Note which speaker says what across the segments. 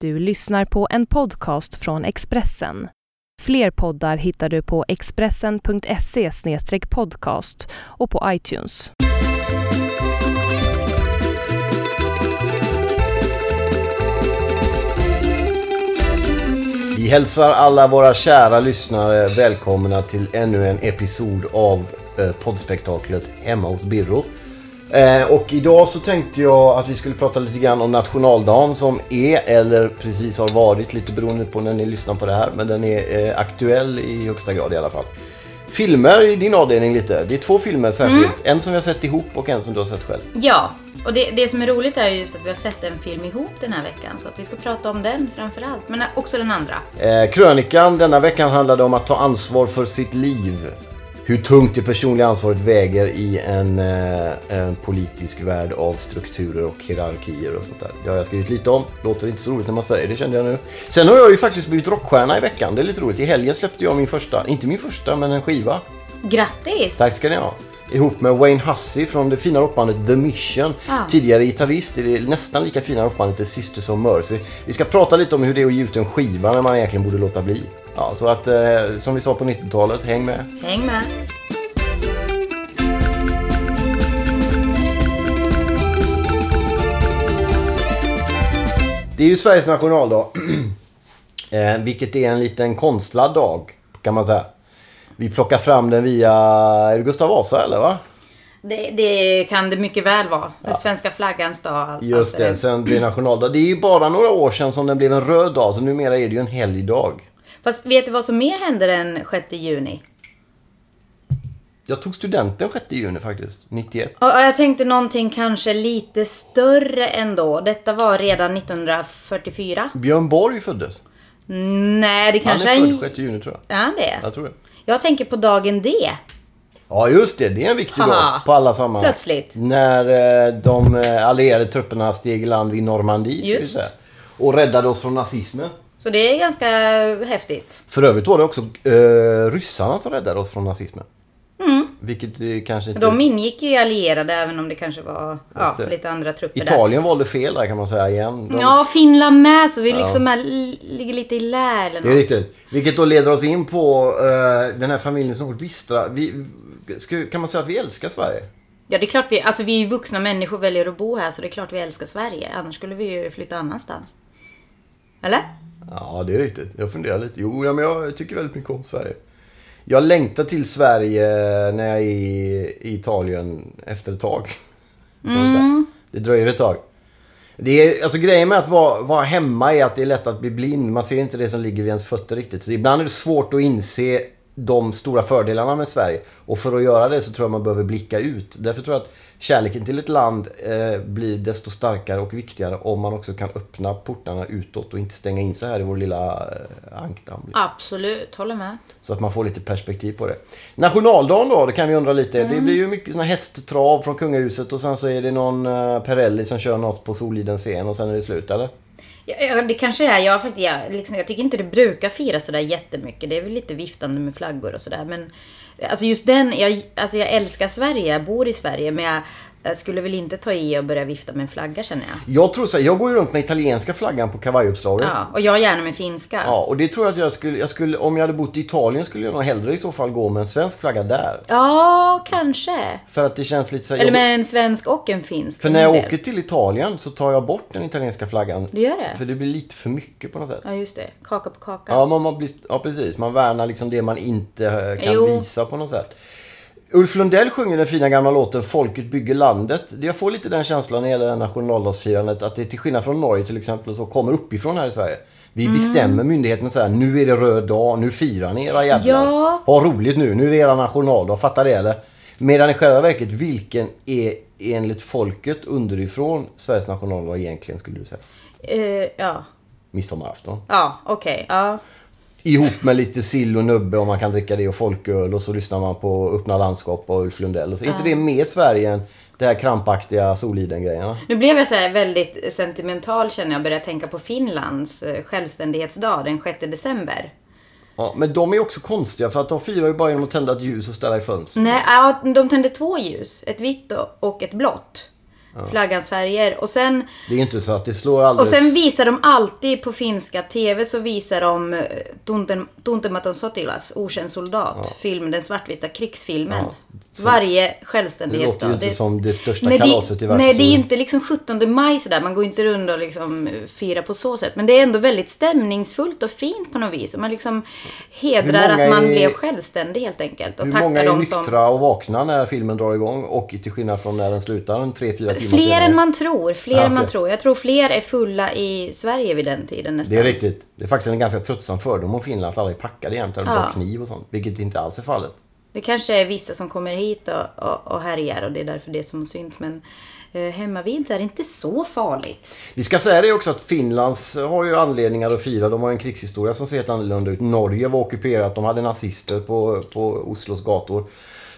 Speaker 1: du lyssnar på en podcast från Expressen. Fler poddar hittar du på expressen.se podcast och på iTunes.
Speaker 2: Vi hälsar alla våra kära lyssnare välkomna till ännu en episod av eh, poddspektaklet Hemma hos Birro. Eh, Och idag så tänkte jag att vi skulle prata lite grann om nationaldagen som är eller precis har varit lite beroende på när ni lyssnar på det här. Men den är eh, aktuell i högsta grad i alla fall. Filmer i din avdelning lite. Det är två filmer särskilt. En som vi har sett ihop och en som du har sett själv.
Speaker 3: Ja, och det, det som är roligt är ju just att vi har sett en film ihop den här veckan så att vi ska prata om den framför allt, men också den andra.
Speaker 2: Eh, krönikan denna veckan handlade om att ta ansvar för sitt liv. Hur tungt det personliga ansvaret väger i en, eh, en politisk värld av strukturer och hierarkier och sånt där. Det har jag skrivit lite om. Låter inte så roligt när man säger det kände jag nu. Sen har jag ju faktiskt blivit rockstjärna i veckan. Det är lite roligt. I helgen släppte jag min första, inte min första, men en skiva.
Speaker 3: Grattis!
Speaker 2: Tack ska ni ha. Ihop med Wayne Hussey från det fina rockbandet The Mission.
Speaker 3: Ja.
Speaker 2: Tidigare gitarrist i det nästan lika fina rockbandet The Sisters of Mercy. Vi ska prata lite om hur det är att ge ut en skiva när man egentligen borde låta bli. Ja, så att eh, som vi sa på 90-talet, häng med.
Speaker 3: Häng med!
Speaker 2: Det är ju Sveriges nationaldag. eh, vilket är en liten konstlad dag kan man säga. Vi plockar fram den via är det Gustav Vasa eller va?
Speaker 3: Det, det kan det mycket väl vara. Svenska flaggans dag. all-
Speaker 2: Just
Speaker 3: alltså,
Speaker 2: det, sen blir nationaldag. Det är ju bara några år sedan som den blev en röd dag så numera är det ju en helgdag.
Speaker 3: Fast vet du vad som mer hände den 6 juni?
Speaker 2: Jag tog studenten 6 juni faktiskt, 91.
Speaker 3: Ja, ja, jag tänkte någonting kanske lite större ändå. Detta var redan 1944.
Speaker 2: Björn Borg föddes.
Speaker 3: Nej, det kanske
Speaker 2: Han är
Speaker 3: han-
Speaker 2: född 6 juni tror jag.
Speaker 3: Är han det?
Speaker 2: Jag tror det.
Speaker 3: Jag tänker på dagen D.
Speaker 2: Ja just det, det är en viktig
Speaker 3: Haha.
Speaker 2: dag på alla sammanhang.
Speaker 3: Plötsligt.
Speaker 2: När eh, de eh, allierade trupperna steg i land vid Normandie. ska vi
Speaker 3: Just.
Speaker 2: säga, Och räddade oss från nazismen.
Speaker 3: Så det är ganska häftigt.
Speaker 2: För övrigt var det också eh, ryssarna som räddade oss från nazismen.
Speaker 3: Mm.
Speaker 2: Vilket eh, kanske inte...
Speaker 3: De ingick ju i allierade även om det kanske var ja,
Speaker 2: det.
Speaker 3: lite andra trupper där.
Speaker 2: Italien valde fel där kan man säga igen. De...
Speaker 3: Ja, Finland med så vi liksom är, ligger lite i lä eller något.
Speaker 2: Det är riktigt. Vilket då leder oss in på eh, den här familjen som bor i Bistra. Vi, ska, kan man säga att vi älskar Sverige?
Speaker 3: Ja, det är klart vi, alltså vi är ju vuxna människor väljer att bo här så det är klart vi älskar Sverige. Annars skulle vi ju flytta annanstans. Eller?
Speaker 2: Ja, det är riktigt. Jag funderar lite. Jo, ja, men jag tycker väldigt mycket om Sverige. Jag längtar till Sverige när jag är i i Italien efter ett tag. Kan man säga. Det dröjer ett tag. Det är, alltså grejen med att vara, vara hemma är att det är lätt att bli blind. Man ser inte det som ligger vid ens fötter riktigt. Så ibland är det svårt att inse de stora fördelarna med Sverige. Och för att göra det så tror jag man behöver blicka ut. Därför tror jag att kärleken till ett land eh, blir desto starkare och viktigare om man också kan öppna portarna utåt och inte stänga in sig här i vår lilla eh, ankdamm.
Speaker 3: Absolut, håller med.
Speaker 2: Så att man får lite perspektiv på det. Nationaldagen då, det kan vi undra lite. Det
Speaker 3: Mm.
Speaker 2: blir ju mycket såna här hästtrav från kungahuset och sen så är det någon eh, Perrelli som kör något på Solidens scen och sen är det slut eller?
Speaker 3: Ja, ja, det kanske är. Jag, faktiskt, jag, liksom, jag tycker inte det brukar firas sådär jättemycket. Det är väl lite viftande med flaggor och sådär. Men alltså just den, jag, alltså jag älskar Sverige, jag bor i Sverige. Men jag, jag skulle väl inte ta i och börja vifta med en flagga känner jag.
Speaker 2: Jag tror så här, jag går ju runt med italienska flaggan på kavajuppslaget.
Speaker 3: Ja, och jag gärna med finska.
Speaker 2: Ja, och det tror jag att jag skulle, jag skulle, om jag hade bott i Italien skulle jag nog hellre i så fall gå med en svensk flagga där.
Speaker 3: Ja, kanske.
Speaker 2: För att det känns lite så här,
Speaker 3: Eller
Speaker 2: jag-
Speaker 3: med en svensk och en finsk.
Speaker 2: För när jag
Speaker 3: Det är en
Speaker 2: åker till Italien så tar jag bort den italienska flaggan.
Speaker 3: Du gör det?
Speaker 2: För det blir lite för mycket på något sätt.
Speaker 3: Ja, just det. Kaka på kaka.
Speaker 2: Ja, man, man blir, ja precis. Man värnar liksom det man inte eh, kan
Speaker 3: Jo.
Speaker 2: visa på något sätt. Ulf Lundell sjunger den fina gamla låten Folket bygger landet. Jag får lite den känslan när det gäller det här nationaldagsfirandet att det till skillnad från Norge till exempel så kommer uppifrån här i Sverige. Vi
Speaker 3: Mm.
Speaker 2: bestämmer myndigheten så här, nu är det röd dag, nu firar ni era jävlar.
Speaker 3: Ja.
Speaker 2: Ha roligt nu, nu är det era nationaldag, fattar det eller? Medan i själva verket, vilken är enligt folket underifrån Sveriges nationaldag egentligen skulle du säga?
Speaker 3: Eh, ja.
Speaker 2: Midsommarafton.
Speaker 3: Ja, okej. Ja.
Speaker 2: Ihop med lite sill och nubbe om man kan dricka det och folköl och så lyssnar man på Öppna landskap och Ulf Lundell. Och så. inte det mer Sverige än det här krampaktiga Soliden-grejerna?
Speaker 3: Nu blev jag så här väldigt sentimental känner jag. Började tänka på Finlands eh, självständighetsdag den 6 december.
Speaker 2: Ja, men de är också konstiga för att de firar ju bara genom att tända ett ljus och ställa i fönster.
Speaker 3: Nej, ja, de tände två ljus. Ett vitt och- och ett blått. flaggans färger. Och sen,
Speaker 2: Det är inte så att det slår alldeles...
Speaker 3: och sen visar de alltid på finska TV så visar de eh, Tunten- Tuntematon sotilas, Okänd soldat, film, den svartvita krigsfilmen.
Speaker 2: Så-
Speaker 3: Varje
Speaker 2: Det låter
Speaker 3: självständighetsdag.
Speaker 2: ju inte som det största
Speaker 3: Nej,
Speaker 2: kalaset i
Speaker 3: det, nej,
Speaker 2: världshistorien.
Speaker 3: det är ju inte liksom 17 maj sådär. Man går inte runt och liksom eh, firar på så sätt. Men det är ändå väldigt stämningsfullt och fint på något vis. Och man liksom hedrar
Speaker 2: många
Speaker 3: att man
Speaker 2: är-
Speaker 3: blev självständig helt enkelt. Och
Speaker 2: Hur
Speaker 3: tackar
Speaker 2: många är
Speaker 3: dem som...
Speaker 2: nyktra och vakna när filmen drar igång och till skillnad från när den slutar en 3-4 timmar
Speaker 3: Fler
Speaker 2: senare?
Speaker 3: än man tror. Fler
Speaker 2: Ja,
Speaker 3: än man
Speaker 2: Ah, okej.
Speaker 3: tror. Jag tror fler är fulla i Sverige vid den tiden nästan.
Speaker 2: Det är riktigt. Det är faktiskt en ganska tröttsam fördom om Finland att alla är packade jämt eller
Speaker 3: Ja.
Speaker 2: bara kniv och sånt. Vilket inte alls är fallet.
Speaker 3: Det kanske är vissa som kommer hit och, och, och härjar och det är därför det är som syns. Men eh, hemma vid så är det inte så farligt.
Speaker 2: Vi ska säga det också att Finlands eh, har ju anledningar att fira. De har en krigshistoria som ser helt annorlunda ut. Norge var ockuperat. De hade nazister på, på Oslos gator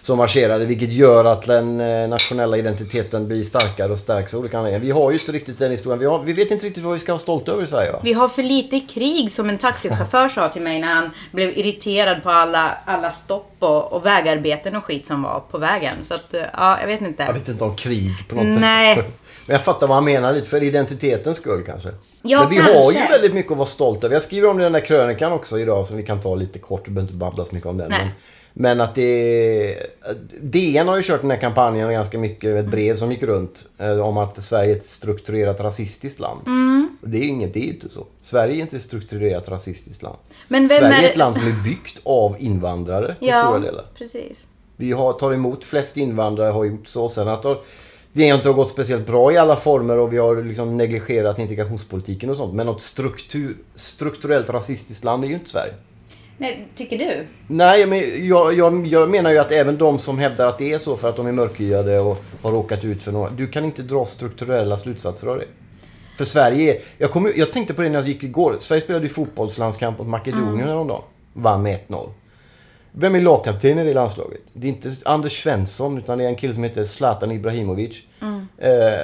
Speaker 2: som marscherade. Vilket gör att den eh, nationella identiteten blir starkare och stärks av olika anledningar. Vi har ju inte riktigt den historien. Vi, har, vi vet inte riktigt vad vi ska vara stolta över i Sverige va?
Speaker 3: Vi har för lite krig som en taxichaufför sa till mig när han blev irriterad på alla, alla stopp och, och vägarbeten och skit som var på vägen. Så att, eh, ja, jag vet
Speaker 2: Jag
Speaker 3: inte.
Speaker 2: vet inte om krig på något
Speaker 3: Nej.
Speaker 2: sätt. Men jag fattar vad han menar lite för identitetens skull kanske.
Speaker 3: Ja,
Speaker 2: Men vi
Speaker 3: kanske.
Speaker 2: har ju väldigt mycket att vara stolta över. Jag skriver om det i den där krönikan också idag som vi kan ta lite kort. Vi behöver inte babbla så mycket om den.
Speaker 3: Nej.
Speaker 2: Men, men att det... DN har ju kört den här kampanjen ganska mycket. Ett brev som gick runt eh, om att Sverige är ett strukturerat rasistiskt land.
Speaker 3: Mm.
Speaker 2: Och Det är ju inget, det är ju inte så. Sverige är inte ett strukturerat rasistiskt land.
Speaker 3: Men vem
Speaker 2: Sverige
Speaker 3: är
Speaker 2: är ett
Speaker 3: det?
Speaker 2: land som är byggt av invandrare till stora
Speaker 3: Ja,
Speaker 2: delar.
Speaker 3: precis.
Speaker 2: Vi har, tar emot flest invandrare, har gjort så. Sen att har- det inte har gått speciellt bra i alla former och vi har liksom negligerat integrationspolitiken och sånt. Men något struktur, strukturellt rasistiskt land är ju inte Sverige.
Speaker 3: Nej, tycker du?
Speaker 2: Nej, men jag, jag, jag menar ju att även de som hävdar att det är så för att de är mörkhyade och har råkat ut för några... Du kan inte dra strukturella slutsatser av det. För Sverige är... Jag, kom, ju- jag tänkte på det när jag gick igår. Sverige spelade ju fotbollslandskamp mot Makedonien
Speaker 3: Mm.
Speaker 2: häromdagen. Vann med 1-0. Vem är lagkapten i det landslaget? Det är inte Anders Svensson utan det är en kille som heter Zlatan Ibrahimovic.
Speaker 3: Mm.
Speaker 2: Eh,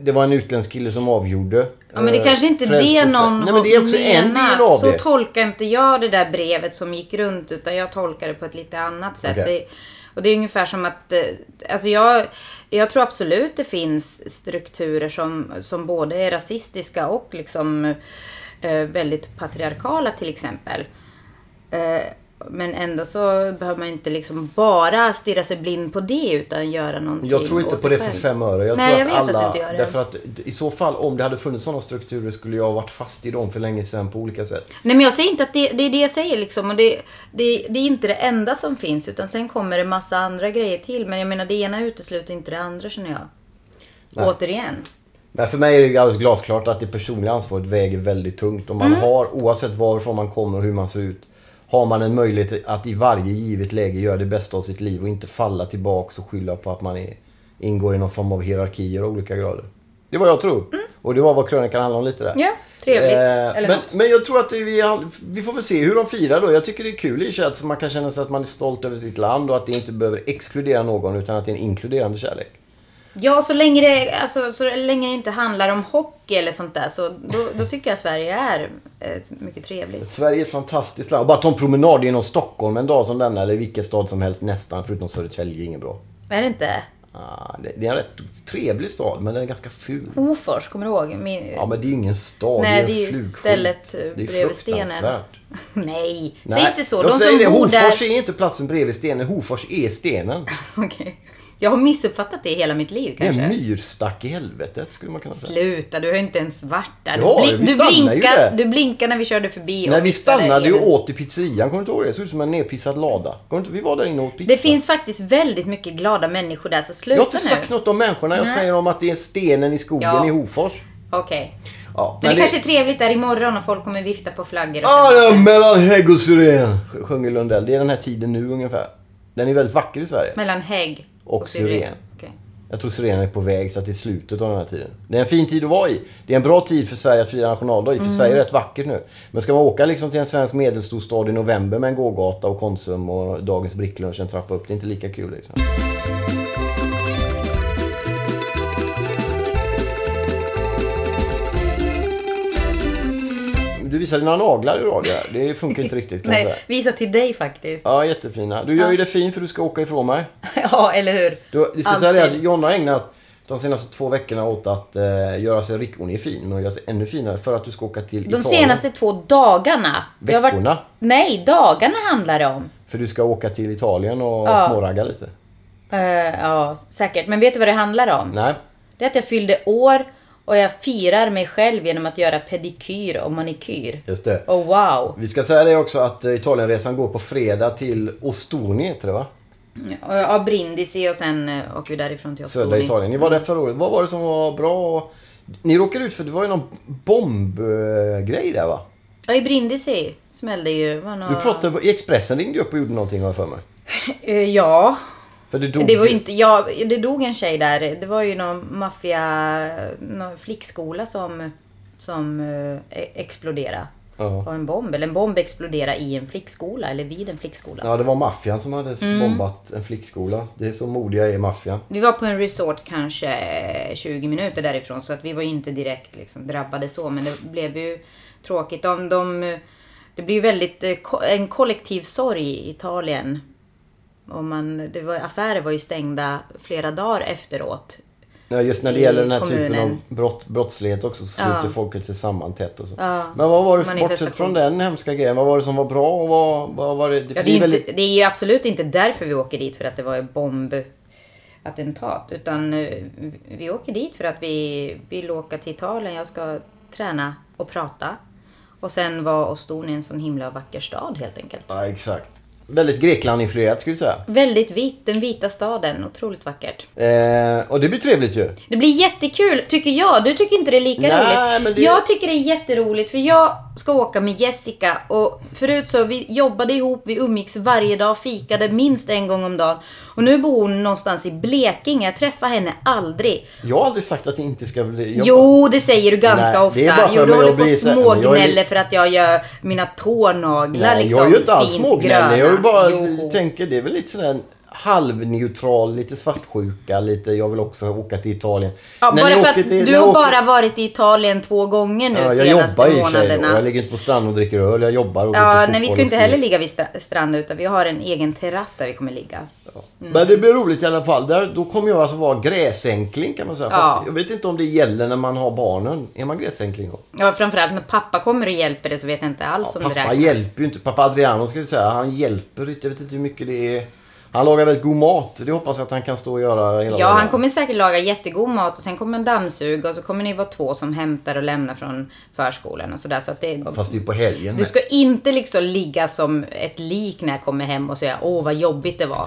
Speaker 2: det var en utländsk kille som avgjorde.
Speaker 3: Ja, men det
Speaker 2: eh,
Speaker 3: kanske inte är
Speaker 2: frälste
Speaker 3: det
Speaker 2: Sverige.
Speaker 3: någon
Speaker 2: Nej, men det är också
Speaker 3: menar.
Speaker 2: en del av
Speaker 3: så
Speaker 2: det.
Speaker 3: tolkar inte jag det där brevet som gick runt utan jag tolkar det på ett lite annat sätt.
Speaker 2: Okej.
Speaker 3: Det, och det är ungefär som att, eh, alltså jag, jag tror absolut det finns strukturer som, som både är rasistiska och liksom eh, väldigt patriarkala till exempel. Eh, men ändå så behöver man inte liksom bara stirra sig blind på det utan göra någonting
Speaker 2: Jag tror inte
Speaker 3: åt
Speaker 2: på det för
Speaker 3: själv.
Speaker 2: fem öre. Jag
Speaker 3: Nej,
Speaker 2: tror
Speaker 3: jag
Speaker 2: att
Speaker 3: vet att
Speaker 2: alla,
Speaker 3: du inte gör det.
Speaker 2: Därför att i så fall om det hade funnits sådana strukturer skulle jag ha varit fast i dem för länge sedan på olika sätt.
Speaker 3: Nej men jag säger inte att det, det är det jag säger liksom. Och det, det, det är inte det enda som finns. Utan sen kommer det massa andra grejer till. Men jag menar det ena utesluter inte det andra känner jag.
Speaker 2: Nej.
Speaker 3: Återigen.
Speaker 2: Men för mig är det alldeles glasklart att det personliga ansvaret väger väldigt tungt. Om man
Speaker 3: Mm.
Speaker 2: har, oavsett varifrån man kommer och hur man ser ut, har man en möjlighet att i varje givet läge göra det bästa av sitt liv och inte falla tillbaks och skylla på att man är, ingår i någon form av hierarkier av olika grader. Det var jag tror. Och det var vad krönikan handlade om lite där.
Speaker 3: Mm. Ja, trevligt.
Speaker 2: Eh,
Speaker 3: Eller
Speaker 2: men,
Speaker 3: något.
Speaker 2: men jag tror att det, vi, all- vi får väl se hur de firar då. Jag tycker det är kul i och för sig att man kan känna sig att man är stolt över sitt land och att det inte behöver exkludera någon utan att det är en inkluderande kärlek.
Speaker 3: Ja, så länge det, alltså, så länge det inte handlar om hockey eller sånt där. Så då, då tycker jag Sverige är eh, mycket trevligt.
Speaker 2: Sverige är ett fantastiskt land. Och bara ta en promenad genom Stockholm en dag som denna eller vilken stad som helst nästan förutom Södertälje är ingen bra.
Speaker 3: Är det inte?
Speaker 2: Ah, det, det är en rätt trevlig stad men den är ganska ful.
Speaker 3: Hofors, kommer du ihåg? Min,
Speaker 2: Ja men det är ju ingen stad,
Speaker 3: Nej,
Speaker 2: det är
Speaker 3: det
Speaker 2: ju
Speaker 3: är
Speaker 2: en
Speaker 3: ju
Speaker 2: flugskylt.
Speaker 3: stället, eh,
Speaker 2: Det är ju
Speaker 3: bredvid stenen.
Speaker 2: fruktansvärt.
Speaker 3: Nej,
Speaker 2: Nej,
Speaker 3: säg inte så.
Speaker 2: Jag
Speaker 3: De
Speaker 2: säger
Speaker 3: som
Speaker 2: det,
Speaker 3: bor
Speaker 2: Hofors
Speaker 3: där...
Speaker 2: är inte platsen bredvid stenen. Hofors är stenen.
Speaker 3: Okej. Jag har missuppfattat det hela mitt liv
Speaker 2: Det är
Speaker 3: kanske.
Speaker 2: en myrstack i helvetet skulle man kunna säga.
Speaker 3: Sluta, du har ju inte ens varit där. Du,
Speaker 2: Ja,
Speaker 3: blink-
Speaker 2: vi
Speaker 3: du,
Speaker 2: stannar ju där.
Speaker 3: blinkar, du blinkar när vi körde förbi. och
Speaker 2: Nej, vi
Speaker 3: missade
Speaker 2: stannade ju
Speaker 3: elen.
Speaker 2: och åt i pizzerian, kommer du inte ihåg det? Det såg ut som en nedpissad lada. Kommer du inte- Vi var där inne och åt pizza.
Speaker 3: Det finns faktiskt väldigt mycket glada människor där, så
Speaker 2: jag
Speaker 3: sluta
Speaker 2: har inte sagt
Speaker 3: nu.
Speaker 2: något om människorna. Jag
Speaker 3: Nej.
Speaker 2: säger om att det är stenen i skogen
Speaker 3: Ja.
Speaker 2: i Hofors.
Speaker 3: Okej.
Speaker 2: Ja,
Speaker 3: Men, det, kanske är trevligt där imorgon och folk kommer vifta på flaggor. och
Speaker 2: Ah,
Speaker 3: sånt.
Speaker 2: ja, mellan hägg och syren, sj- sjunger Lundell. Det är den här tiden nu ungefär. Den är väldigt vacker i Sverige.
Speaker 3: Mellan hägg
Speaker 2: Och syren.
Speaker 3: Okej.
Speaker 2: Jag tror syren är på väg så att det är slutet av den här tiden. Det är en fin tid att vara i. Det är en bra tid för Sverige att fira nationaldag i. För Sverige är rätt vackert nu. Men ska man åka liksom till en svensk medelstor stad i november med en gågata och Konsum och dagens bricklunch en trappa upp. Det är inte lika kul liksom. Du visar dina naglar i radio här. Det funkar inte riktigt kan jag säga.
Speaker 3: Nej, visa till dig faktiskt.
Speaker 2: Ja, jättefina. Du gör ju det fint för du ska åka ifrån mig.
Speaker 3: ja, eller hur?
Speaker 2: Du, vi ska
Speaker 3: Alltid.
Speaker 2: säga det att Jonna har ägnat de senaste två veckorna åt att eh, göra sig riktigt... Hon är fin, men hon gör sig ännu finare för att du ska åka till
Speaker 3: De senaste två dagarna. Det har varit-
Speaker 2: Veckorna.
Speaker 3: Nej, dagarna handlar det om.
Speaker 2: För du ska åka till Italien och
Speaker 3: Ja.
Speaker 2: småragga lite.
Speaker 3: Eh, ja, säkert. Men vet du vad det handlar om?
Speaker 2: Nej.
Speaker 3: Det är att jag fyllde år och jag firar mig själv genom att göra pedikyr och manikyr.
Speaker 2: Just det.
Speaker 3: Och wow!
Speaker 2: Vi ska säga det också att eh, Italienresan går på fredag till Ostoni heter det va?
Speaker 3: Och jag har Brindisi och sen eh, åker vi därifrån till
Speaker 2: Södra
Speaker 3: Ostoni. Mm.
Speaker 2: Italien. Ni var där förra året. Vad var det som var bra? Ni råkade ut för det var ju någon bombgrej där va?
Speaker 3: Ja, i Brindisi smällde ju... det Var några...
Speaker 2: Du pratade, i Expressen ringde ju upp och gjorde någonting har jag för mig.
Speaker 3: Eh, ja.
Speaker 2: För det dog
Speaker 3: Det var ju inte... Ja, det dog en tjej där. Det var ju någon maffia... Någon flickskola som... Som eh, exploderade.
Speaker 2: Ja.
Speaker 3: Av en bomb. Eller en bomb exploderade i en flickskola. Eller vid en flickskola.
Speaker 2: ja, det var maffian som hade
Speaker 3: Mm.
Speaker 2: bombat en flickskola. Det är så modiga är maffian.
Speaker 3: Vi var på en resort kanske eh, 20 minuter därifrån så att vi var ju inte direkt liksom, drabbade så men det blev ju tråkigt. De, de, eh, det blir ju väldigt eh, ko- en kollektiv sorg i Italien. Och man, det var, affärer var ju stängda flera dagar efteråt.
Speaker 2: Ja, just när det
Speaker 3: I
Speaker 2: gäller den här typen
Speaker 3: kommunen.
Speaker 2: av brott, brottslighet också så
Speaker 3: Ja.
Speaker 2: sluter folket sig samman tätt och så.
Speaker 3: Ja.
Speaker 2: Men vad var det,
Speaker 3: Manifestation.
Speaker 2: bortsett från den hemska grejen, vad var det som var bra och vad, vad var det? för
Speaker 3: Ja, det, är inte, det är ju absolut inte därför vi åker dit för att det var ett bombattentat. Utan eh, vi åker dit för att vi vill åka till Italien. Jag ska träna och prata. Och sen var Ostoni en sån himla vacker stad helt enkelt.
Speaker 2: Ja, exakt. Väldigt Grekland-influerat skulle vi säga.
Speaker 3: Väldigt vitt, den vita staden. Otroligt vackert.
Speaker 2: Eh, och det blir trevligt ju.
Speaker 3: Det blir jättekul tycker jag. Du tycker inte det är lika
Speaker 2: Nej,
Speaker 3: roligt.
Speaker 2: men det-
Speaker 3: Jag tycker det är jätteroligt för jag ska åka med Jessica och förut så vi jobbade ihop, vi umgicks varje dag, fikade minst en gång om dagen. Och nu bor hon någonstans i Blekinge. Jag träffar henne aldrig.
Speaker 2: Jag har aldrig sagt att det inte ska bli... jag-
Speaker 3: Jo, det säger du ganska
Speaker 2: Nej, det är
Speaker 3: ofta.
Speaker 2: bara för
Speaker 3: jo,
Speaker 2: att
Speaker 3: du
Speaker 2: jag
Speaker 3: håller på och
Speaker 2: blir så här- men jag är-
Speaker 3: smågnäller för att jag gör mina tånaglar
Speaker 2: Nej,
Speaker 3: liksom
Speaker 2: jag är ju inte alls
Speaker 3: fint
Speaker 2: smågnällig. Jag är ju
Speaker 3: gröna.
Speaker 2: bara
Speaker 3: Jo.
Speaker 2: tänker, det är väl lite sådär halvneutral, lite svartsjuka, lite jag vill också åka till Italien.
Speaker 3: Ja,
Speaker 2: När
Speaker 3: bara
Speaker 2: ni
Speaker 3: för
Speaker 2: åker
Speaker 3: att
Speaker 2: till- när
Speaker 3: du
Speaker 2: jag
Speaker 3: har
Speaker 2: åker-
Speaker 3: bara varit i Italien två gånger nu
Speaker 2: Ja, jag
Speaker 3: senaste
Speaker 2: jobbar i och för sig då.
Speaker 3: månaderna.
Speaker 2: Jag ligger inte på stranden och dricker öl, jag jobbar och går på
Speaker 3: Ja, nej,
Speaker 2: fotboll
Speaker 3: vi
Speaker 2: och
Speaker 3: ska ju inte
Speaker 2: spelar.
Speaker 3: heller ligga vid sta- stranden utan vi har en egen terrass där vi kommer ligga.
Speaker 2: Men
Speaker 3: Mm.
Speaker 2: det blir roligt i alla fall. Där, då kommer jag alltså vara gräsänkling kan man säga.
Speaker 3: Ja.
Speaker 2: Fast Jag vet inte om det gäller när man har barnen. Är man gräsänkling då?
Speaker 3: Ja, framförallt när pappa kommer och hjälper dig så vet jag inte alls om det
Speaker 2: Pappa
Speaker 3: räknas.
Speaker 2: hjälper ju inte. Pappa Adriano ska vi säga. Han hjälper inte. Jag vet inte hur mycket det är. Han lagar väldigt god mat. Det hoppas jag att han kan stå och göra hela
Speaker 3: Ja,
Speaker 2: dagen.
Speaker 3: han kommer säkert laga jättegod mat och sen kommer en dammsuga och så kommer ni vara två som hämtar och lämnar från förskolan och sådär. Så att det,
Speaker 2: Fast det är på helgen.
Speaker 3: du
Speaker 2: med.
Speaker 3: ska inte liksom ligga som ett lik när jag kommer hem och säga åh vad jobbigt det var.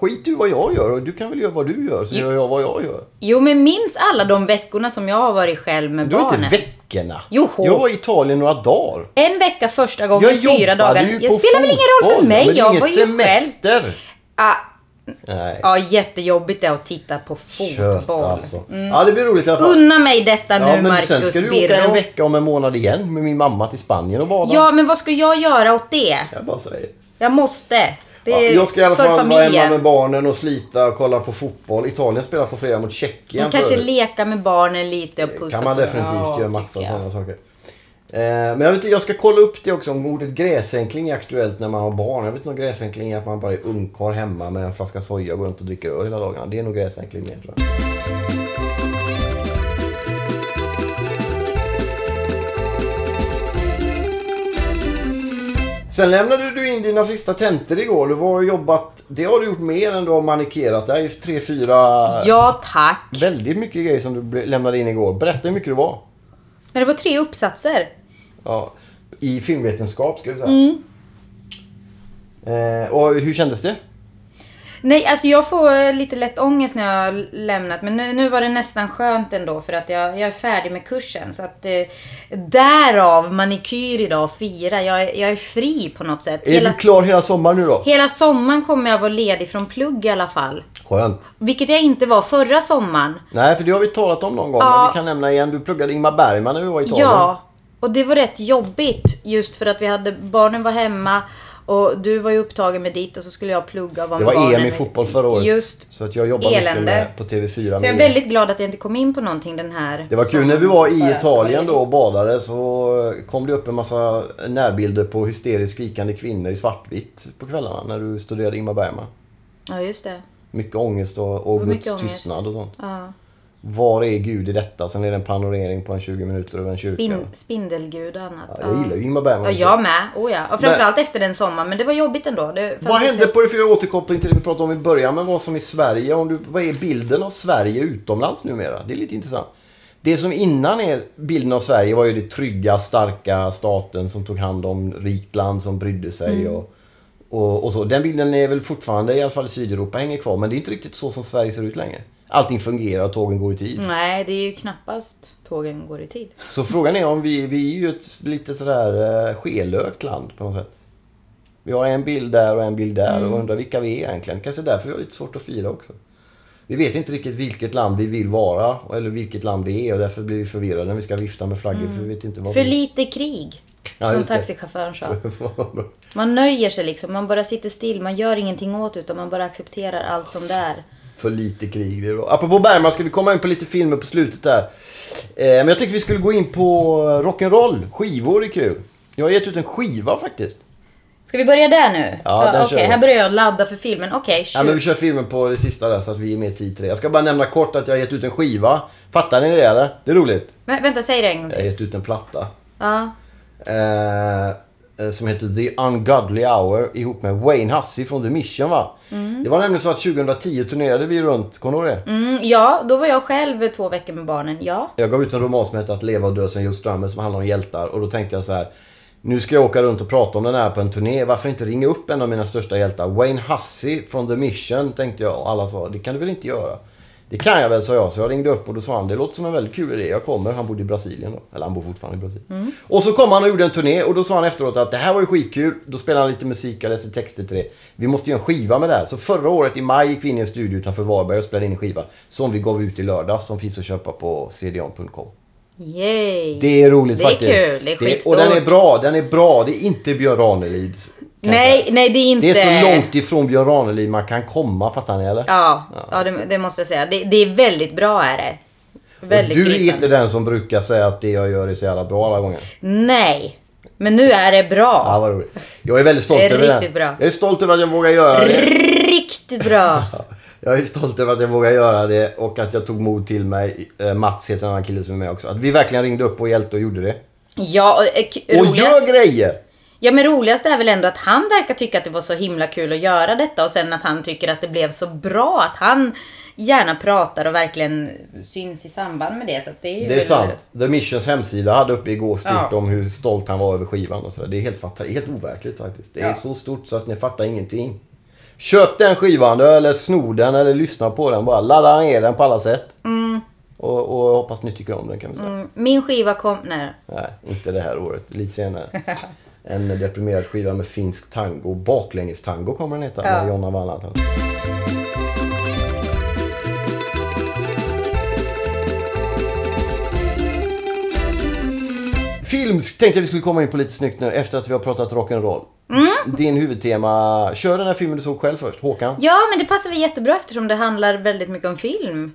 Speaker 2: Skit i vad jag gör och du kan väl göra vad du gör så gör jag vad jag gör.
Speaker 3: Jo men minns alla de veckorna som jag har varit själv med
Speaker 2: Du har inte
Speaker 3: barnen.
Speaker 2: veckorna.
Speaker 3: Joho.
Speaker 2: Jag var i Italien några dagar.
Speaker 3: En vecka första gången, fyra dagar.
Speaker 2: ju
Speaker 3: Jag
Speaker 2: på
Speaker 3: spelar väl ingen roll för
Speaker 2: fotboll,
Speaker 3: mig,
Speaker 2: men det är
Speaker 3: jag
Speaker 2: ingen
Speaker 3: var ju själv.
Speaker 2: semester.
Speaker 3: Ah,
Speaker 2: Nej,
Speaker 3: Ja, jättejobbigt det är att titta på
Speaker 2: kört
Speaker 3: fotboll.
Speaker 2: alltså. Ja, det blir roligt i alla fall.
Speaker 3: Unna mig detta nu
Speaker 2: Ja, men
Speaker 3: Marcus
Speaker 2: sen ska du åka en
Speaker 3: Birro.
Speaker 2: vecka om en månad igen med min mamma till Spanien och bada.
Speaker 3: Ja, men vad ska jag göra åt det?
Speaker 2: Jag bara säger.
Speaker 3: Jag måste. Det
Speaker 2: Ja,
Speaker 3: är
Speaker 2: jag ska i alla
Speaker 3: för
Speaker 2: fall vara hemma med
Speaker 3: familjen.
Speaker 2: barnen och slita och kolla på fotboll. Italien spelar på fredag mot Tjeckien.
Speaker 3: Och kanske
Speaker 2: för övrigt.
Speaker 3: leka med barnen lite och pussa
Speaker 2: kan man
Speaker 3: på dem.
Speaker 2: definitivt
Speaker 3: Ja,
Speaker 2: göra massa
Speaker 3: tycker jag.
Speaker 2: sådana saker. Eh, Men jag, vet, inte, jag ska kolla upp det också om ordet gräsänkling är aktuellt när man har barn. Jag vet inte om gräsänkling är att man bara är ungkarl hemma med en flaska soja och går runt och dricker öl hela dagarna. Det är nog gräsänkling mer tror jag. Sen lämnade du in dina sista tentor igår. Du var och jobbat, det har du gjort mer än du har manikerat. Det här är tre, fyra
Speaker 3: Ja, tack.
Speaker 2: Väldigt mycket grejer som du ble- lämnade in igår. Berätta hur mycket det var.
Speaker 3: Men det var tre uppsatser.
Speaker 2: Ja, I filmvetenskap ska vi säga.
Speaker 3: Mm.
Speaker 2: Eh, och hur kändes det?
Speaker 3: Nej, alltså jag får eh, lite lätt ångest när jag har lämnat. Men nu, nu var det nästan skönt ändå för att jag, jag är färdig med kursen. Så att eh, därav manikyr idag och fira. Jag, är- jag är fri på något sätt.
Speaker 2: Är
Speaker 3: Hela,
Speaker 2: du klar hela sommaren nu då?
Speaker 3: hela sommaren kommer jag vara ledig från plugg i alla fall.
Speaker 2: Skönt.
Speaker 3: Vilket jag inte var förra sommaren.
Speaker 2: Nej, för det har vi talat om någon gång.
Speaker 3: Ja.
Speaker 2: Men vi kan nämna igen. Du pluggade Ingmar Bergman när vi var i Italien.
Speaker 3: Ja, och det var rätt jobbigt just för att vi hade, barnen var hemma och du var ju upptagen med ditt och så skulle jag plugga och vara
Speaker 2: Det
Speaker 3: med
Speaker 2: var
Speaker 3: barnen.
Speaker 2: EM i fotboll förra året.
Speaker 3: Just.
Speaker 2: så att jag jobbar mycket
Speaker 3: Elände.
Speaker 2: med på TV4.
Speaker 3: Så jag är
Speaker 2: med EM.
Speaker 3: väldigt glad att jag inte kom in på någonting den här
Speaker 2: Det var kul
Speaker 3: sommaren.
Speaker 2: när vi var i
Speaker 3: Bara
Speaker 2: Italien
Speaker 3: ska
Speaker 2: då
Speaker 3: vara
Speaker 2: och badade så kom det upp en massa närbilder på hysteriskt skrikande kvinnor i svartvitt på kvällarna när du studerade Ingmar Bergman.
Speaker 3: Ja, just det.
Speaker 2: Mycket ångest och, och
Speaker 3: Och
Speaker 2: Guds
Speaker 3: mycket ångest.
Speaker 2: tystnad och sånt.
Speaker 3: Ja.
Speaker 2: Var är Gud i detta? Sen är det en panorering på en 20 minuter över en kyrka.
Speaker 3: Spin, Spindelgud och annat.
Speaker 2: Ja, jag gillar ju Ingmar Bergman.
Speaker 3: Ja, jag med. Oh, ja. Och framförallt efter den sommaren. Men det var jobbigt ändå. Det fanns
Speaker 2: Vad hände
Speaker 3: inte-
Speaker 2: på det för återkoppling till det vi pratade om i början med vad som är Sverige? Om du, vad är bilden av Sverige utomlands numera? Det är lite intressant. Det som innan är bilden av Sverige var ju det trygga, starka staten som tog hand om rikt land som brydde sig.
Speaker 3: Mm.
Speaker 2: Och, och, och så. Den bilden är väl fortfarande, i alla fall i Sydeuropa, hänger kvar. Men det är inte riktigt så som Sverige ser ut längre. Allting fungerar och tågen går i tid.
Speaker 3: Nej, det är ju knappast tågen går i tid.
Speaker 2: Så frågan är om vi, vi är ju ett lite sådär eh, skelögt land på något sätt. Vi har en bild där och en bild där och undrar vilka vi är egentligen. Kanske därför vi har lite svårt att fira också. Vi vet inte riktigt vilket land vi vill vara eller vilket land vi är och därför blir vi förvirrade när vi ska vifta med flaggor för vi vet inte vad
Speaker 3: För
Speaker 2: vi...
Speaker 3: lite krig.
Speaker 2: Ja,
Speaker 3: som
Speaker 2: just det.
Speaker 3: taxichauffören sa. Man nöjer sig liksom. Man bara sitter still. Man gör ingenting åt det, utan man bara accepterar allt som det är.
Speaker 2: För lite krig. Det är bra. Apropå Bergman ska vi komma in på lite filmer på slutet där. Eh, men jag tänkte vi skulle gå in på rock'n'roll. Skivor är kul. Jag har gett ut en skiva faktiskt.
Speaker 3: Ska vi börja där nu?
Speaker 2: Ja,
Speaker 3: Ta-
Speaker 2: där
Speaker 3: Okej,
Speaker 2: kör vi.
Speaker 3: här börjar jag ladda för filmen. Okej,
Speaker 2: Ja, men vi
Speaker 3: shoot.
Speaker 2: kör filmen på det sista där så att vi är med tid till det. Jag ska bara nämna kort att jag har gett ut en skiva. Fattar ni det eller? Det är roligt.
Speaker 3: men... Vänta, säg det en gång
Speaker 2: Jag har
Speaker 3: till.
Speaker 2: gett ut en platta.
Speaker 3: Ja.
Speaker 2: Eh, eh, som heter The Ungodly Hour ihop med Wayne Hussey från The Mission va? Det var nämligen så att 2010 turnerade vi runt, kommer du ihåg det?
Speaker 3: Mm, ja, då var jag själv två veckor med barnen. Ja.
Speaker 2: Jag gav ut en roman som heter Att leva och dö som Joe Strummer som handlar om hjältar och då tänkte jag så här. Nu ska jag åka runt och prata om den här på en turné. Varför inte ringa upp en av mina största hjältar? Wayne Hussey från The Mission tänkte jag och alla sa det kan du väl inte göra? Det kan jag väl sa jag. Så jag ringde upp och då sa han det låter som en väldigt kul idé. Jag kommer. Han bodde i Brasilien då. Eller han bor fortfarande i Brasilien.
Speaker 3: Mm.
Speaker 2: Och så kom han och gjorde en turné och då sa han efteråt att det här var ju skitkul. Då spelade han lite musik, jag läste texter till det. Vi måste göra en skiva med det här. Så förra året i maj gick vi in i en studio utanför Varberg och spelade in en skiva. Som vi gav ut i lördags som finns att köpa på cdon.com.
Speaker 3: Yay.
Speaker 2: Det är roligt
Speaker 3: Det är
Speaker 2: faktiskt.
Speaker 3: kul, det är
Speaker 2: Och
Speaker 3: skitstort.
Speaker 2: den är bra, den är bra. Det är inte Björn Ranelid. kan jag
Speaker 3: Nej,
Speaker 2: säga.
Speaker 3: nej det är inte...
Speaker 2: Det är så långt ifrån Björn Ranelid man kan komma, fattar ni eller?
Speaker 3: Ja, ja det, det måste jag säga. Det, det är väldigt bra är det. Väldigt
Speaker 2: och du är
Speaker 3: gripande.
Speaker 2: inte den som brukar säga att det jag gör är så jävla bra alla gånger.
Speaker 3: Nej, men nu är det
Speaker 2: Ja,
Speaker 3: bra.
Speaker 2: vad roligt. Jag är väldigt stolt
Speaker 3: Det är
Speaker 2: över den.
Speaker 3: riktigt bra.
Speaker 2: Jag är stolt över att jag vågar göra det.
Speaker 3: Riktigt bra.
Speaker 2: Ja, Jag är stolt över att jag vågar göra det och att jag tog mod till mig. Eh, Mats heter en annan kille som är med också. Att vi verkligen ringde upp och hjälpte och gjorde det.
Speaker 3: Ja, och, eh, k-
Speaker 2: Och gör
Speaker 3: roligast,
Speaker 2: grejer!
Speaker 3: ja, men roligast är väl ändå att han verkar tycka att det var så himla kul att göra detta och sen att han tycker att det blev så bra att han gärna pratar och verkligen syns i samband med det. Så att det är, ju
Speaker 2: Det är
Speaker 3: väl-
Speaker 2: sant. The Missions hemsida hade uppe igår stort
Speaker 3: Ja.
Speaker 2: om hur stolt han var över skivan och sådär. Det är helt, fatta- helt overkligt faktiskt. Det är
Speaker 3: Ja.
Speaker 2: så stort så att ni fattar ingenting. Köp den skivan eller snor den eller lyssna på den bara. Ladda ner den på alla sätt. Och, och hoppas ni tycker om den kan vi säga.
Speaker 3: Mm, Min skiva kom... Nej.
Speaker 2: Nej, inte det här året. Lite senare. En deprimerad skiva med finsk tango. Baklängestango kommer den heta. Med
Speaker 3: Ja.
Speaker 2: Jonna Wallantall. Film tänkte jag vi skulle komma in på lite snyggt nu efter att vi har pratat rock'n'roll. Din huvudtema. Kör den här filmen du såg själv först. Håkan.
Speaker 3: Ja, men det passar väl jättebra eftersom det handlar väldigt mycket om film.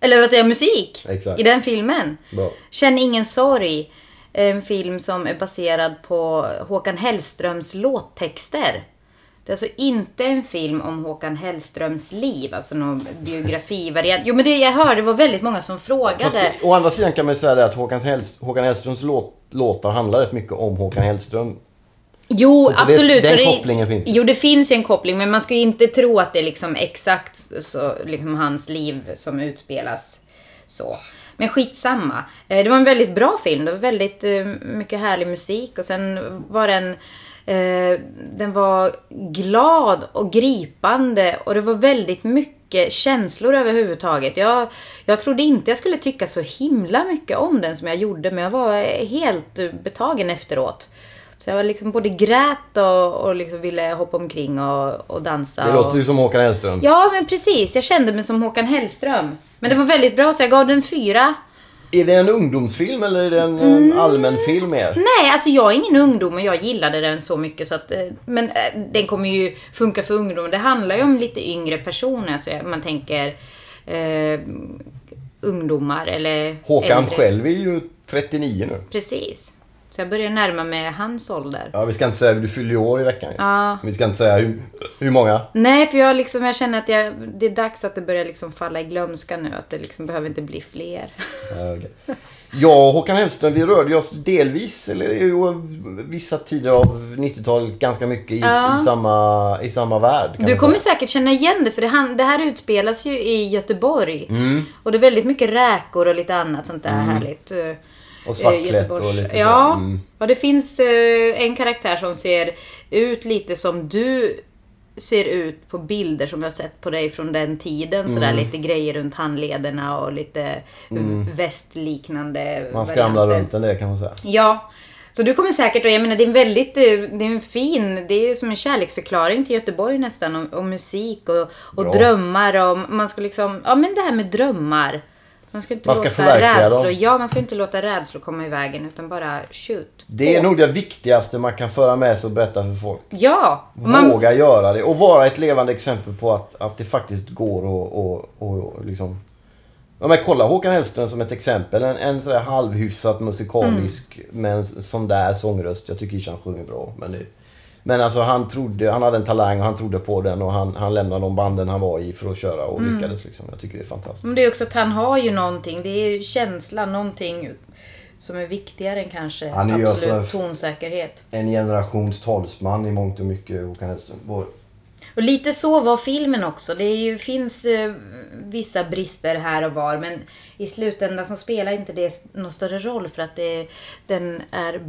Speaker 3: Eller vad säger jag, musik.
Speaker 2: Exakt.
Speaker 3: I den filmen.
Speaker 2: Bra.
Speaker 3: Känn ingen sorg. En film som är baserad på Håkan Hellströms låttexter. Det är alltså inte en film om Håkan Hellströms liv, alltså någon biografivariant. Jo men det jag hörde var väldigt många som
Speaker 2: Fast
Speaker 3: frågade.
Speaker 2: å andra sidan kan man ju säga det att Håkan, Hellst- Håkan Hellströms låt, låtar handlar rätt mycket om Håkan Hellström.
Speaker 3: Jo,
Speaker 2: Så på det-
Speaker 3: absolut.
Speaker 2: den
Speaker 3: så det,
Speaker 2: kopplingen finns.
Speaker 3: Jo, det finns ju en koppling, men man ska ju inte tro att det är liksom exakt så, liksom hans liv som utspelas så. Men skitsamma. Eh, Det var en väldigt bra film. Det var väldigt eh, mycket härlig musik och sen var den eh, den var glad och gripande och det var väldigt mycket känslor överhuvudtaget. Jag, jag trodde inte jag skulle tycka så himla mycket om den som jag gjorde men jag var helt eh, betagen efteråt. Så jag liksom både grät och, och liksom ville hoppa omkring och, och dansa.
Speaker 2: Det
Speaker 3: och...
Speaker 2: låter ju som Håkan Hellström.
Speaker 3: Ja, men precis. Jag kände mig som Håkan Hellström. Men det var väldigt bra, så jag gav den fyra.
Speaker 2: Är det en ungdomsfilm eller är det en,
Speaker 3: Mm.
Speaker 2: en allmän film mer?
Speaker 3: Nej, alltså jag är ingen ungdom och jag gillade den så mycket så att... eh, Men eh, den kommer ju funka för ungdomar. Det handlar ju om lite yngre personer, så jag- man tänker... Eh, ungdomar eller
Speaker 2: Håkan
Speaker 3: äldre.
Speaker 2: själv är ju 39 nu.
Speaker 3: Precis. Så jag börjar närma mig hans ålder.
Speaker 2: Ja, vi ska inte säga, du fyller ju år i veckan ju.
Speaker 3: Ja.
Speaker 2: Vi ska inte säga hur, hur många.
Speaker 3: Nej, för jag, liksom, jag känner att jag, det är dags att det börjar liksom falla i glömska nu. Att det liksom behöver inte bli fler.
Speaker 2: Ja, okej. Jag och Håkan Hellström, vi rörde oss delvis, eller ju vissa tider av 90-talet, ganska mycket i, i, samma, i samma värld. kan
Speaker 3: Du
Speaker 2: man
Speaker 3: kommer
Speaker 2: säga.
Speaker 3: säkert känna igen det, för det, han, det här utspelas ju i Göteborg.
Speaker 2: Mm.
Speaker 3: Och det är väldigt mycket räkor och lite annat sånt där härligt. eh,
Speaker 2: Och svartklätt och
Speaker 3: Göteborgs-
Speaker 2: lite så.
Speaker 3: Ja,
Speaker 2: Mm.
Speaker 3: och det finns eh, en karaktär som ser ut lite som du ser ut på bilder som jag har sett på dig från den tiden. Sådär
Speaker 2: Mm.
Speaker 3: lite grejer runt handlederna och lite västliknande
Speaker 2: Man skramlar
Speaker 3: varianter.
Speaker 2: runt den där kan man säga.
Speaker 3: Ja. Så du kommer säkert, och jag menar det är en väldigt, eh, det är en fin, det är som en kärleksförklaring till Göteborg nästan om, om musik och,
Speaker 2: Bra.
Speaker 3: och drömmar om, man ska liksom, ja men det här med drömmar. Man ska inte
Speaker 2: Man ska
Speaker 3: låta
Speaker 2: förverkliga
Speaker 3: rädslor,
Speaker 2: dem.
Speaker 3: ja man ska inte låta rädslor komma i vägen utan bara shoot.
Speaker 2: Det är
Speaker 3: På.
Speaker 2: nog det viktigaste man kan föra med sig och berätta för folk.
Speaker 3: Ja! och Man,
Speaker 2: Våga göra det och vara ett levande exempel på att, att det faktiskt går och, och, och, och liksom... Ja, men kolla Håkan Hellström som ett exempel. En, en sådär halvhyfsat musikalisk med en sån där sångröst. Jag tycker inte han sjunger bra. Men, det, men alltså han trodde, han hade en talang och han trodde på den och han, han lämnade de banden han var i för att köra och lyckades liksom. Jag tycker det är fantastiskt.
Speaker 3: men det är också att han har ju någonting, det är ju känslan, någonting som är viktigare än kanske
Speaker 2: Han är ju
Speaker 3: absolut
Speaker 2: alltså-
Speaker 3: tonsäkerhet.
Speaker 2: En generations talsman i mångt och mycket Håkan Hellström. Vår-
Speaker 3: Och lite så var filmen också. Det är ju, finns eh, vissa brister här och var men i slutändan så spelar inte det någon större roll för att det, den är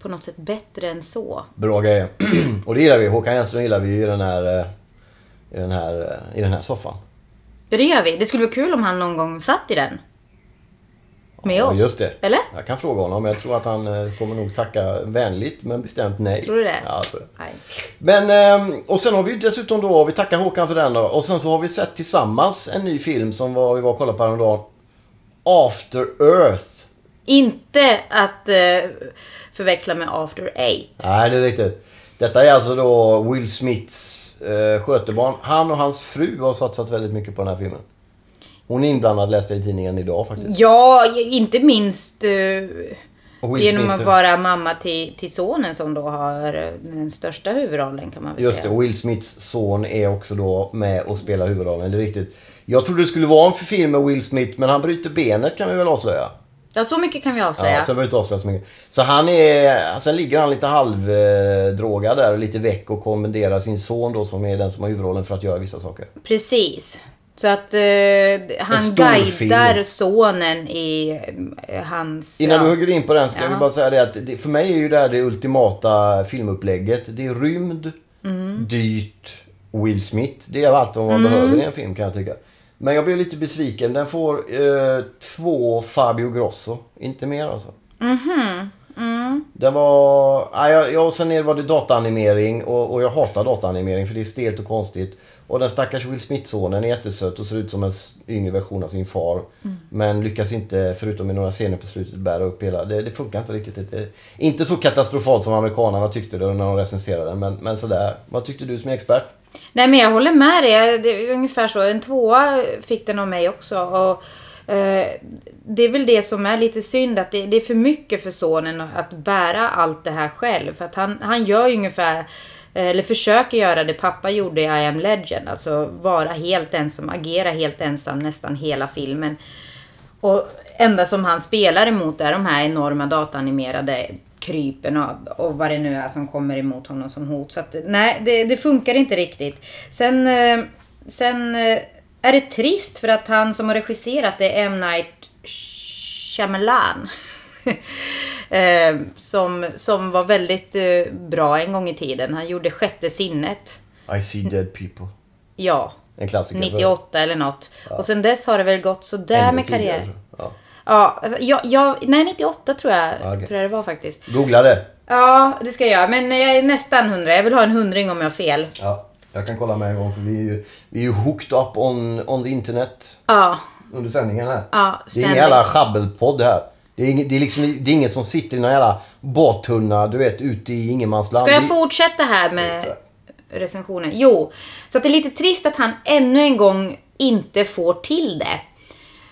Speaker 3: på något sätt bättre än så.
Speaker 2: Bra grejer. och det gillar vi. Håkan Hellström gillar vi ju i den här, eh, i den här, eh, i den här soffan.
Speaker 3: Ja, det gör vi. Det skulle vara kul om han någon gång satt i den. Med
Speaker 2: Ja,
Speaker 3: oss.
Speaker 2: just det.
Speaker 3: Eller?
Speaker 2: Jag kan fråga honom. Jag tror att han eh, kommer nog tacka vänligt men bestämt nej.
Speaker 3: Tror du det?
Speaker 2: Ja, jag tror det.
Speaker 3: Nej.
Speaker 2: Men, ehm, och sen har vi ju dessutom då, vi tackar Håkan för den då. Och sen så har vi sett tillsammans en ny film som var, vi var och kollade på häromdagen. After Earth.
Speaker 3: Inte att eh, förväxla med After Eight.
Speaker 2: Nej, det är riktigt. Detta är alltså då Will Smiths eh, skötebarn. Han och hans fru har satsat väldigt mycket på den här filmen. Hon är inblandad läste jag i tidningen idag faktiskt.
Speaker 3: Ja, inte minst eh,
Speaker 2: Och Will
Speaker 3: Genom
Speaker 2: Smith,
Speaker 3: att vara mamma till, till sonen som då har eh, den största huvudrollen kan man väl
Speaker 2: Just det,
Speaker 3: säga.
Speaker 2: och Will Smiths son är också då med och spelar huvudrollen. Det är riktigt. Jag trodde det skulle vara en film med Will Smith men han bryter benet kan vi väl avslöja.
Speaker 3: Ja, så mycket kan vi avslöja.
Speaker 2: Ja, så jag behöver inte avslöja så mycket. Så han är, sen ligger han lite halvdrogad där och lite väck och kommenderar sin son då som är den som har huvudrollen för att göra vissa saker.
Speaker 3: Precis. Så att eh, han
Speaker 2: stor
Speaker 3: guidar
Speaker 2: film.
Speaker 3: sonen i eh, hans...
Speaker 2: Innan
Speaker 3: ja.
Speaker 2: du hugger in på den ska
Speaker 3: Ja.
Speaker 2: jag bara säga det att det, för mig är ju det här det ultimata filmupplägget. Det är rymd,
Speaker 3: Mm.
Speaker 2: dyrt, Will Smith. Det är allt vad man behöver i en film kan jag tycka. Men jag blev lite besviken. Den får eh, två Fabio Grosso. Inte mer alltså. Det var... Ja, jag, jag, och sen är- var det dataanimering och, och jag hatar dataanimering för det är stelt och konstigt. Och den stackars Will Smith-sonen är jättesöt och ser ut som en s- yngre version av sin far.
Speaker 3: Mm.
Speaker 2: Men lyckas inte, förutom i några scener på slutet, bära upp hela... Det, det funkar inte riktigt. Det, det, inte så katastrofalt som amerikanarna tyckte det när de recenserade den, men, men sådär. Vad tyckte du som är expert?
Speaker 3: Nej men jag håller med dig. Det är ungefär så. En tvåa fick den av mig också. Och, eh, det är väl det som är lite synd att det, det är för mycket för sonen att bära allt det här själv. För att han, han gör ju ungefär, eh, eller försöker göra det pappa gjorde i I am legend. Alltså vara helt ensam, agera helt ensam nästan hela filmen. Och enda som han spelar emot är de här enorma dataanimerade krypen och, och vad det nu är som kommer emot honom som hot. Så att, nej, det, det funkar inte riktigt. Sen, eh, sen eh, är det trist för att han som har regisserat det är M. Night Shyamalan. eh, som, som var väldigt eh, bra en gång i tiden. Han gjorde Sjätte sinnet.
Speaker 2: I see dead people.
Speaker 3: Ja.
Speaker 2: En klassiker. för-
Speaker 3: 98 eller något. Och sen dess har det väl gått sådär
Speaker 2: ännu
Speaker 3: med
Speaker 2: tidigare,
Speaker 3: karriär.
Speaker 2: tror jag. Ja.
Speaker 3: Ja, alltså, jag, jag, nej 98 tror jag,
Speaker 2: Ja, okej.
Speaker 3: tror jag det var faktiskt.
Speaker 2: Googla det.
Speaker 3: Ja, det ska jag göra. Men jag är nästan 100. Jag vill ha en hundring om jag har fel.
Speaker 2: Ja, jag kan kolla med en gång för vi är ju, vi är ju hooked up on, on the internet.
Speaker 3: Ja,
Speaker 2: under sändningen här. det
Speaker 3: Ja,
Speaker 2: är ingen
Speaker 3: ständigt.
Speaker 2: jävla sjabbelpodd här. Det är, ing, det, är liksom, det är ingen som sitter i någon jävla badtunna, du vet, ute i ingenmansland.
Speaker 3: ska
Speaker 2: Vi-
Speaker 3: jag fortsätta här med recensionen? Jo, så att det är lite trist att han ännu en gång inte får till det.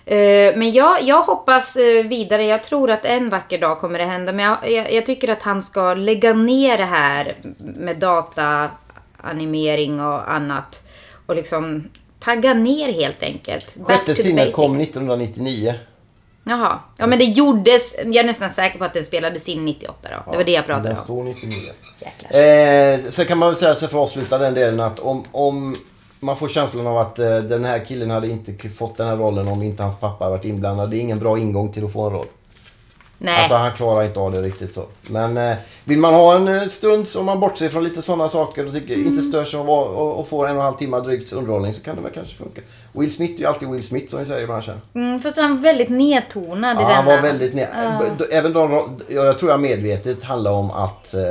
Speaker 3: Eh, Men jag, jag hoppas eh, vidare. Jag tror att en vacker dag kommer det hända. Men jag, jag, jag tycker att han ska lägga ner det här med data, animering och annat. Och liksom tagga ner helt enkelt. Back to
Speaker 2: Sjätte
Speaker 3: the
Speaker 2: sinnet
Speaker 3: basic.
Speaker 2: kom 1999.
Speaker 3: Jaha. Ja men det gjordes. Jag är nästan säker på att den spelades in 98 då. det var det jag pratade
Speaker 2: Den
Speaker 3: om.
Speaker 2: står 99.
Speaker 3: Jäklar.
Speaker 2: Eh, sen kan man väl säga så för att avsluta den delen att om, om man får känslan av att eh, den här killen hade inte k- fått den här rollen om inte hans pappa hade varit inblandad. Det är ingen bra ingång till att få en roll.
Speaker 3: Nej.
Speaker 2: Alltså han klarar inte av det riktigt så. Men eh, vill man ha en eh, stund om man bortser från lite sådana saker och tycker,
Speaker 3: Mm.
Speaker 2: inte stör sig av att- och, och får en och en halv timme drygt underhållning så kan det väl kanske funka. Will Smith är ju alltid Will Smith som vi säger i branschen.
Speaker 3: Mm, fast han var väldigt nedtonad i
Speaker 2: Ja,
Speaker 3: denna.
Speaker 2: han var väldigt ne- B- Även de, jag tror jag medvetet handlar om att eh,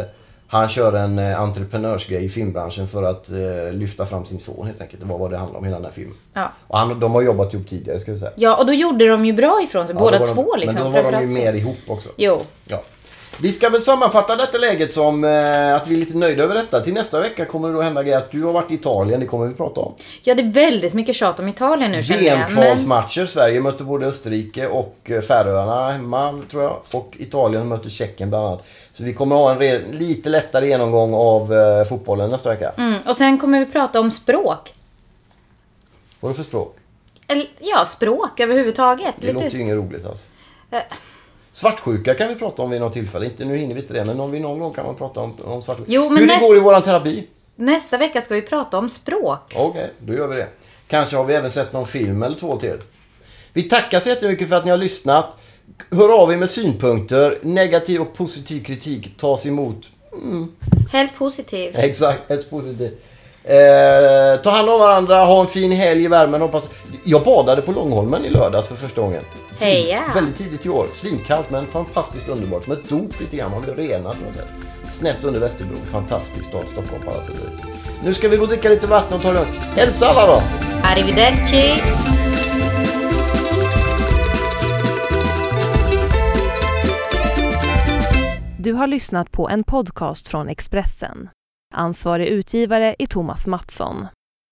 Speaker 2: han kör en eh, entreprenörsgrej i filmbranschen för att eh, lyfta fram sin son helt enkelt. Det var vad det handlade om hela den här filmen.
Speaker 3: Ja.
Speaker 2: Och han, de har jobbat ihop tidigare ska vi säga.
Speaker 3: ja, och då gjorde de ju bra ifrån sig,
Speaker 2: Ja,
Speaker 3: båda
Speaker 2: då var de-
Speaker 3: två liksom.
Speaker 2: Men då var de
Speaker 3: framförallt
Speaker 2: ju
Speaker 3: så.
Speaker 2: mer ihop också.
Speaker 3: Jo.
Speaker 2: Ja. Vi ska väl sammanfatta detta läget som eh, att vi är lite nöjda över detta. Till nästa vecka kommer det då hända grejer att du har varit i Italien, det kommer vi prata om.
Speaker 3: Ja, det är väldigt mycket tjat om Italien nu känner jag. Men...
Speaker 2: VM-kvalsmatcher. Sverige mötte både Österrike och eh, Färöarna hemma tror jag. Och Italien mötte Tjeckien bland annat. Så vi kommer ha en re- lite lättare genomgång av eh, fotbollen nästa vecka.
Speaker 3: Mm, och sen kommer vi prata om språk.
Speaker 2: Vad är det för språk?
Speaker 3: Eller, ja, språk överhuvudtaget.
Speaker 2: Det
Speaker 3: Lite...
Speaker 2: låter ju inget roligt alltså.
Speaker 3: Eh.
Speaker 2: Svartsjuka kan vi prata om vid något tillfälle. Inte, nu hinner vi inte det, men om vi någon gång kan man prata om, om svartsjuka.
Speaker 3: Jo, men
Speaker 2: Hur det
Speaker 3: näst-
Speaker 2: går i våran terapi.
Speaker 3: Nästa vecka ska vi prata om språk.
Speaker 2: Okej, då gör vi det. Kanske har vi även sett någon film eller två till. Vi tackar så jättemycket för att ni har lyssnat. Hör av er med synpunkter. Negativ och positiv kritik tas emot.
Speaker 3: Helst positiv.
Speaker 2: Exakt, ett positivt. Eh, ta hand om varandra, ha en fin helg i värmen. Hoppas... Jag badade på Långholmen i lördags för första gången.
Speaker 3: Heja!
Speaker 2: Tid- Väldigt tidigt i år. Svinkallt men fantastiskt underbart. Som ett dop lite grann. Man blir renad på något sätt. Snett under Västerbro. Fantastisk stad, Stockholm på alla sätt och vis. Nu ska vi gå och dricka lite vatten och ta det lugnt. Hälsa alla då!
Speaker 3: Arrivederci!
Speaker 1: Du har lyssnat på en podcast från Expressen. Ansvarig utgivare är Thomas Mattsson.